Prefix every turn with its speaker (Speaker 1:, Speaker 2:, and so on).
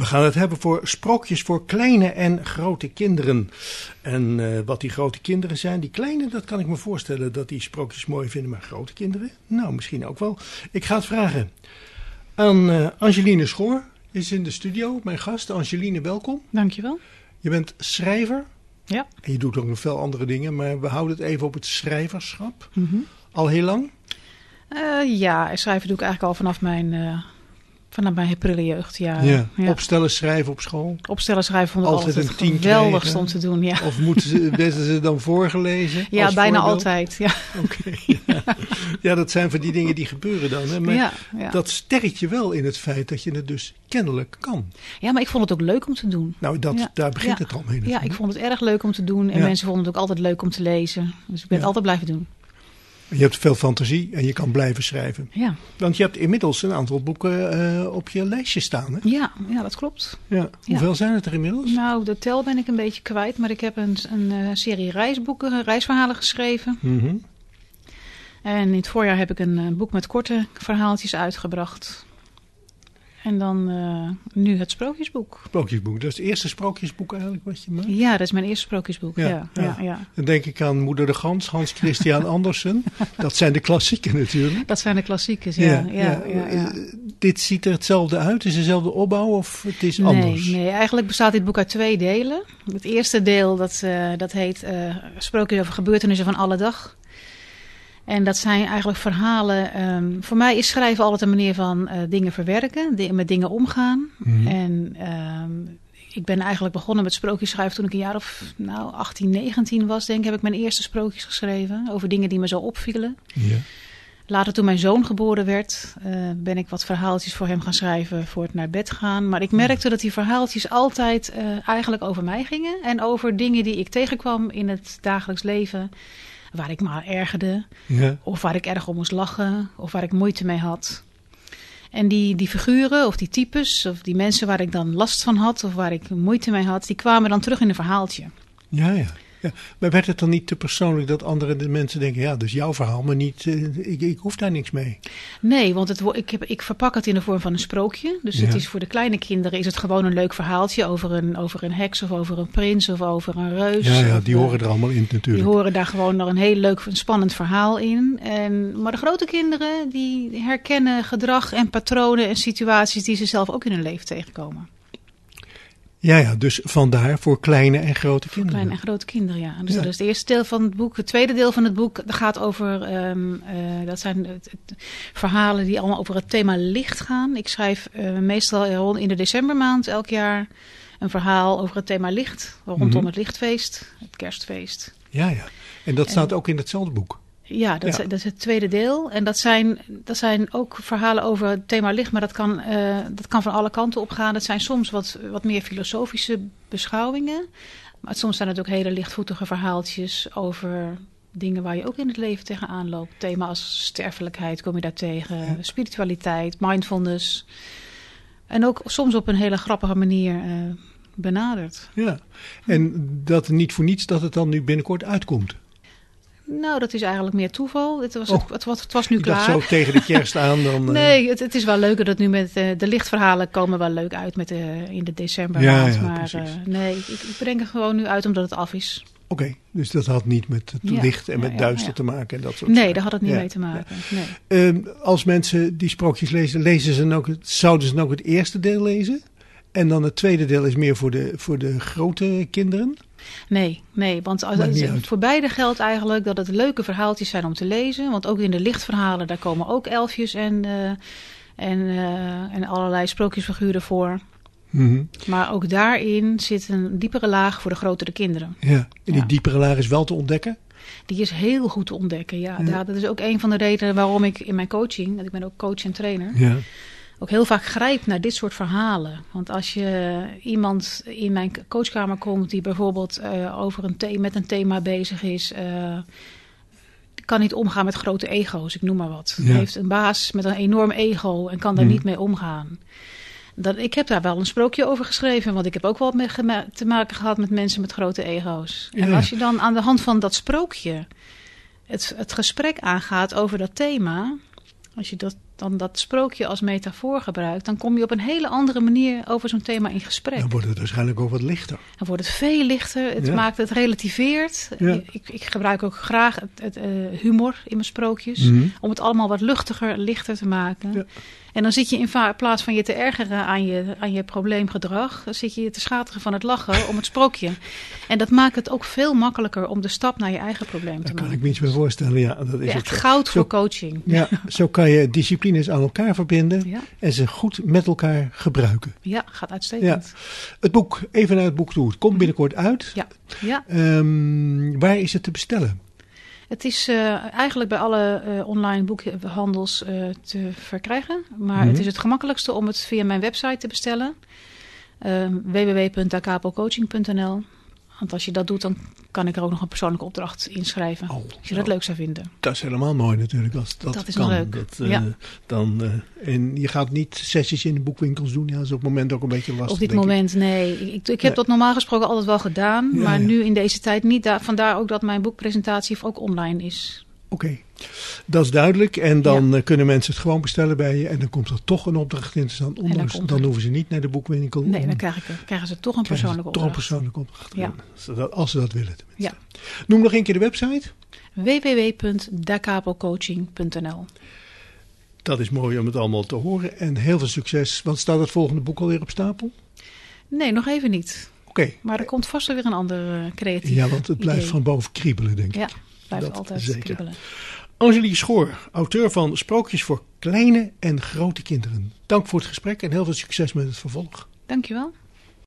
Speaker 1: gaan het hebben voor sprookjes voor kleine en grote kinderen. En eh, wat die grote kinderen zijn, die kleine, dat kan ik me voorstellen dat die sprookjes mooi vinden. Maar grote kinderen? Nou, misschien ook wel. Ik ga het vragen aan eh, Angeline Schoor. Is in de studio, mijn gast. Angeline, welkom.
Speaker 2: Dankjewel.
Speaker 1: Je bent schrijver.
Speaker 2: Ja.
Speaker 1: En je doet ook nog veel andere dingen, maar we houden het even op het schrijverschap. Al heel lang?
Speaker 2: Eh, ja, schrijven doe ik eigenlijk al vanaf mijn, eh vanaf mijn prille jeugd. Eh, Ja.
Speaker 1: Opstellen, schrijven op school.
Speaker 2: Opstellen schrijven vond ik
Speaker 1: Altijd
Speaker 2: altijd,
Speaker 1: een tien
Speaker 2: geweldig
Speaker 1: krijgen.
Speaker 2: om te doen. Ja,
Speaker 1: Of moeten ze, werden ze dan voorgelezen?
Speaker 2: ja
Speaker 1: als
Speaker 2: bijna
Speaker 1: voorbeeld?
Speaker 2: altijd. Ja.
Speaker 1: Oké. ja. Ja, dat zijn van die dingen die gebeuren dan. Hè? Maar
Speaker 2: ja, ja.
Speaker 1: dat sterkt je wel in het feit dat je het dus kennelijk kan.
Speaker 2: ja, maar ik vond het ook leuk om te doen.
Speaker 1: Nou, dat,
Speaker 2: Ja.
Speaker 1: daar begint
Speaker 2: Ja.
Speaker 1: het al mee.
Speaker 2: Ja,
Speaker 1: natuurlijk.
Speaker 2: ik vond het erg leuk om te doen. En
Speaker 1: Ja.
Speaker 2: mensen vonden het ook altijd leuk om te lezen. Dus ik ben
Speaker 1: Ja.
Speaker 2: het altijd blijven doen.
Speaker 1: Je hebt veel fantasie en je kan blijven schrijven.
Speaker 2: Ja,
Speaker 1: Want je hebt inmiddels een aantal boeken eh, op je lijstje staan. Hè?
Speaker 2: ja, ja dat klopt.
Speaker 1: Ja. Hoeveel zijn het er inmiddels?
Speaker 2: Nou, de tel ben ik een beetje kwijt. Maar ik heb een, een eh, serie reisboeken, eh, reisverhalen geschreven.
Speaker 1: Mhm.
Speaker 2: En in het voorjaar heb ik een eh, boek met korte verhaaltjes uitgebracht. En dan eh, nu het sprookjesboek.
Speaker 1: Sprookjesboek. Dat is het eerste sprookjesboek eigenlijk wat je maakt.
Speaker 2: Ja, dat is mijn eerste sprookjesboek.
Speaker 1: Ja,
Speaker 2: Ja, ja,
Speaker 1: ja.
Speaker 2: ja.
Speaker 1: Dan denk ik aan Moeder de Gans, Hans Christian Andersen. Dat zijn de klassieken natuurlijk.
Speaker 2: Dat zijn de klassiekers, ja. ja, ja, ja,
Speaker 1: Eh, Dit ziet er hetzelfde uit, is dezelfde opbouw of het is
Speaker 2: Nee,
Speaker 1: anders?
Speaker 2: nee, eigenlijk bestaat dit boek uit twee delen. Het eerste deel, dat, eh, dat heet eh Sprookjes over gebeurtenissen van alle dag. En dat zijn eigenlijk verhalen. ehm, voor mij is schrijven altijd een manier van eh, dingen verwerken, di- met dingen omgaan.
Speaker 1: Mhm.
Speaker 2: En ehm, ik ben eigenlijk begonnen met sprookjes schrijven toen ik een jaar of nou, 18, 19 was, denk ik, heb ik mijn eerste sprookjes geschreven over dingen die me zo opvielen.
Speaker 1: Ja.
Speaker 2: Later toen mijn zoon geboren werd, eh, ben ik wat verhaaltjes voor hem gaan schrijven voor het naar bed gaan. Maar ik merkte dat die verhaaltjes altijd eh, eigenlijk over mij gingen en over dingen die ik tegenkwam in het dagelijks leven. Waar ik me aan ergerde,
Speaker 1: Ja.
Speaker 2: of waar ik erg om moest lachen, of waar ik moeite mee had. En die, die figuren of die types of die mensen waar ik dan last van had of waar ik moeite mee had, die kwamen dan terug in een verhaaltje.
Speaker 1: Ja, ja, ja. Maar werd het dan niet te persoonlijk dat andere de mensen denken: ja, dat is jouw verhaal, maar niet, eh, ik, ik hoef daar niks mee?
Speaker 2: Nee, want het, wo- ik, heb, ik verpak het in de vorm van een sprookje. Dus het
Speaker 1: Ja.
Speaker 2: is voor de kleine kinderen is het gewoon een leuk verhaaltje over een, over een heks of over een prins of over een reus.
Speaker 1: Ja, ja,
Speaker 2: Of,
Speaker 1: die
Speaker 2: eh,
Speaker 1: horen er allemaal in
Speaker 2: Die
Speaker 1: natuurlijk.
Speaker 2: horen daar gewoon nog een heel leuk, een spannend verhaal in. En, maar de grote kinderen die herkennen gedrag en patronen en situaties die ze zelf ook in hun leven tegenkomen.
Speaker 1: Ja, ja, dus vandaar voor kleine en grote kinderen.
Speaker 2: Kleine en grote kinderen, ja. Dus
Speaker 1: Ja.
Speaker 2: dat is het eerste deel van het boek. Het tweede deel van het boek gaat over, ehm, eh, dat zijn het- het verhalen die allemaal over het thema licht gaan. Ik schrijf eh, meestal rond- in de decembermaand elk jaar een verhaal over het thema licht. Rondom
Speaker 1: Mhm.
Speaker 2: het lichtfeest, het kerstfeest.
Speaker 1: Ja, ja. En dat
Speaker 2: En-
Speaker 1: staat ook in hetzelfde boek.
Speaker 2: Ja, dat,
Speaker 1: Ja.
Speaker 2: dat is het tweede deel. En dat zijn, dat zijn ook verhalen over het thema licht, maar dat kan, eh, dat kan van alle kanten opgaan. Dat zijn soms wat, wat meer filosofische beschouwingen. Maar soms zijn het ook hele lichtvoetige verhaaltjes over dingen waar je ook in het leven tegenaan loopt. Thema als sterfelijkheid kom je daar tegen,
Speaker 1: Ja.
Speaker 2: spiritualiteit, mindfulness. En ook soms op een hele grappige manier eh, benaderd.
Speaker 1: Ja. En dat niet voor niets dat het dan nu binnenkort uitkomt.
Speaker 2: Nou, dat is eigenlijk meer toeval. Het was,
Speaker 1: Oh.
Speaker 2: het, het was, het was nu
Speaker 1: ik
Speaker 2: klaar.
Speaker 1: dacht zo tegen de kerst aan dan. eh,
Speaker 2: Nee, het, het is wel leuker dat nu met eh, de lichtverhalen komen wel leuk uit met de, in de december.
Speaker 1: Ja, ja,
Speaker 2: maar
Speaker 1: precies.
Speaker 2: eh, nee, ik, ik breng er gewoon nu uit omdat het af is.
Speaker 1: Oké, dus dat had niet met het
Speaker 2: Ja,
Speaker 1: licht en
Speaker 2: ja,
Speaker 1: met
Speaker 2: ja,
Speaker 1: duister
Speaker 2: ja.
Speaker 1: te maken en dat soort
Speaker 2: Nee,
Speaker 1: zaken.
Speaker 2: daar had het niet
Speaker 1: Ja,
Speaker 2: mee te maken. Nee.
Speaker 1: Ehm, als mensen die sprookjes lezen, lezen ze dan ook, het- zouden ze dan ook het eerste deel lezen? En dan het tweede deel is meer voor de, voor de grote kinderen.
Speaker 2: Nee, nee, want als,
Speaker 1: Maakt
Speaker 2: als-
Speaker 1: niet uit.
Speaker 2: voor beide geldt eigenlijk dat het leuke verhaaltjes zijn om te lezen. Want ook in de lichtverhalen, daar komen ook elfjes en, eh, en, eh, en allerlei sprookjesfiguren voor.
Speaker 1: Mhm.
Speaker 2: Maar ook daarin zit een diepere laag voor de grotere kinderen.
Speaker 1: Ja, en die
Speaker 2: Ja.
Speaker 1: diepere laag is wel te ontdekken.
Speaker 2: Die is heel goed te ontdekken. Ja,
Speaker 1: Ja.
Speaker 2: Ja, dat is ook een van de redenen waarom ik in mijn coaching, want ik ben ook coach en trainer,
Speaker 1: Ja.
Speaker 2: ook heel vaak grijp naar dit soort verhalen. Want als je iemand in mijn coachkamer komt die bijvoorbeeld eh, over een the- met een thema bezig is. eh, kan niet omgaan met grote ego's, ik noem maar wat.
Speaker 1: Ja.
Speaker 2: Heeft een baas met een enorm ego en kan daar
Speaker 1: Mhm.
Speaker 2: niet mee omgaan. Dat, ik heb daar wel een sprookje over geschreven, want ik heb ook wel mee gema- te maken gehad met mensen met grote ego's. En
Speaker 1: Ja.
Speaker 2: als je dan aan de hand van dat sprookje het, het gesprek aangaat over dat thema, als je dat dan dat sprookje als metafoor gebruikt, dan kom je op een hele andere manier over zo'n thema in gesprek.
Speaker 1: Dan wordt het waarschijnlijk ook wat lichter.
Speaker 2: Dan wordt het veel lichter, het
Speaker 1: Ja.
Speaker 2: maakt het relativeert.
Speaker 1: Ja.
Speaker 2: Ik, ik gebruik ook graag het, het, eh, humor in mijn sprookjes.
Speaker 1: Mhm.
Speaker 2: Om het allemaal wat luchtiger, lichter te maken.
Speaker 1: Ja.
Speaker 2: En dan zit je in va- plaats van je te ergeren aan je, aan je probleemgedrag, dan zit je je te schateren van het lachen om het sprookje. En dat maakt het ook veel makkelijker om de stap naar je eigen probleem te
Speaker 1: Daar kan
Speaker 2: maken.
Speaker 1: ik me iets bij voorstellen. Ja, dat is ook
Speaker 2: Echt
Speaker 1: zo.
Speaker 2: goud
Speaker 1: Zo-
Speaker 2: voor coaching.
Speaker 1: Ja, zo kan je disciplines aan elkaar verbinden
Speaker 2: Ja,
Speaker 1: en ze goed met elkaar gebruiken.
Speaker 2: ja gaat uitstekend.
Speaker 1: Het boek, even naar het boek toe. Het komt binnenkort uit.
Speaker 2: Ja. ja.
Speaker 1: Ehm, waar is het te bestellen?
Speaker 2: Het is eh, eigenlijk bij alle eh, online boekhandels eh, te verkrijgen. Maar
Speaker 1: Mhm.
Speaker 2: het is het gemakkelijkste om het via mijn website te bestellen. Ehm www.acapocoaching.nl Want als je dat doet, dan kan ik er ook nog een persoonlijke opdracht inschrijven.
Speaker 1: Oh,
Speaker 2: Als je dat leuk zou vinden.
Speaker 1: dat is helemaal mooi natuurlijk. Als dat,
Speaker 2: Dat is
Speaker 1: kan.
Speaker 2: leuk,
Speaker 1: Dat, eh,
Speaker 2: ja.
Speaker 1: dan, eh, en je gaat niet sessies in de boekwinkels doen. Ja, dat is op het moment ook een beetje lastig.
Speaker 2: Op dit
Speaker 1: denk ik.
Speaker 2: moment, nee. Ik, ik, ik heb
Speaker 1: Nee.
Speaker 2: dat normaal gesproken altijd wel gedaan.
Speaker 1: Ja,
Speaker 2: maar
Speaker 1: ja.
Speaker 2: nu in deze tijd niet. Daar- vandaar ook dat mijn boekpresentatie ook online is.
Speaker 1: Oké, dat is duidelijk. En dan eh, kunnen mensen het gewoon bestellen bij je. En dan komt er toch een opdracht in te staan. Ondanks,
Speaker 2: komt
Speaker 1: dan
Speaker 2: er-
Speaker 1: hoeven ze niet naar de boekwinkel.
Speaker 2: Nee,
Speaker 1: om-
Speaker 2: dan krijg ik, er- krijgen ze toch een
Speaker 1: krijgen ze
Speaker 2: persoonlijke
Speaker 1: toch een
Speaker 2: opdracht.
Speaker 1: persoonlijke opdracht.
Speaker 2: Ja.
Speaker 1: Zodat- als ze dat willen tenminste. Noem nog een keer de website.
Speaker 2: www.dacapocoaching.nl
Speaker 1: Dat is mooi om het allemaal te horen. En heel veel succes. Want staat het volgende boek alweer op stapel?
Speaker 2: Nee, nog even niet.
Speaker 1: Oké.
Speaker 2: Maar er komt vast wel weer een ander eh, creatief
Speaker 1: Ja, want het blijft
Speaker 2: idee.
Speaker 1: van boven kriebelen, denk ik.
Speaker 2: Ja, blijft
Speaker 1: Dat
Speaker 2: altijd
Speaker 1: zeker.
Speaker 2: kriebelen.
Speaker 1: Angelique Schoor, auteur van Sprookjes voor kleine en grote kinderen. Dank voor het gesprek en heel veel succes met het vervolg.
Speaker 2: Dankjewel.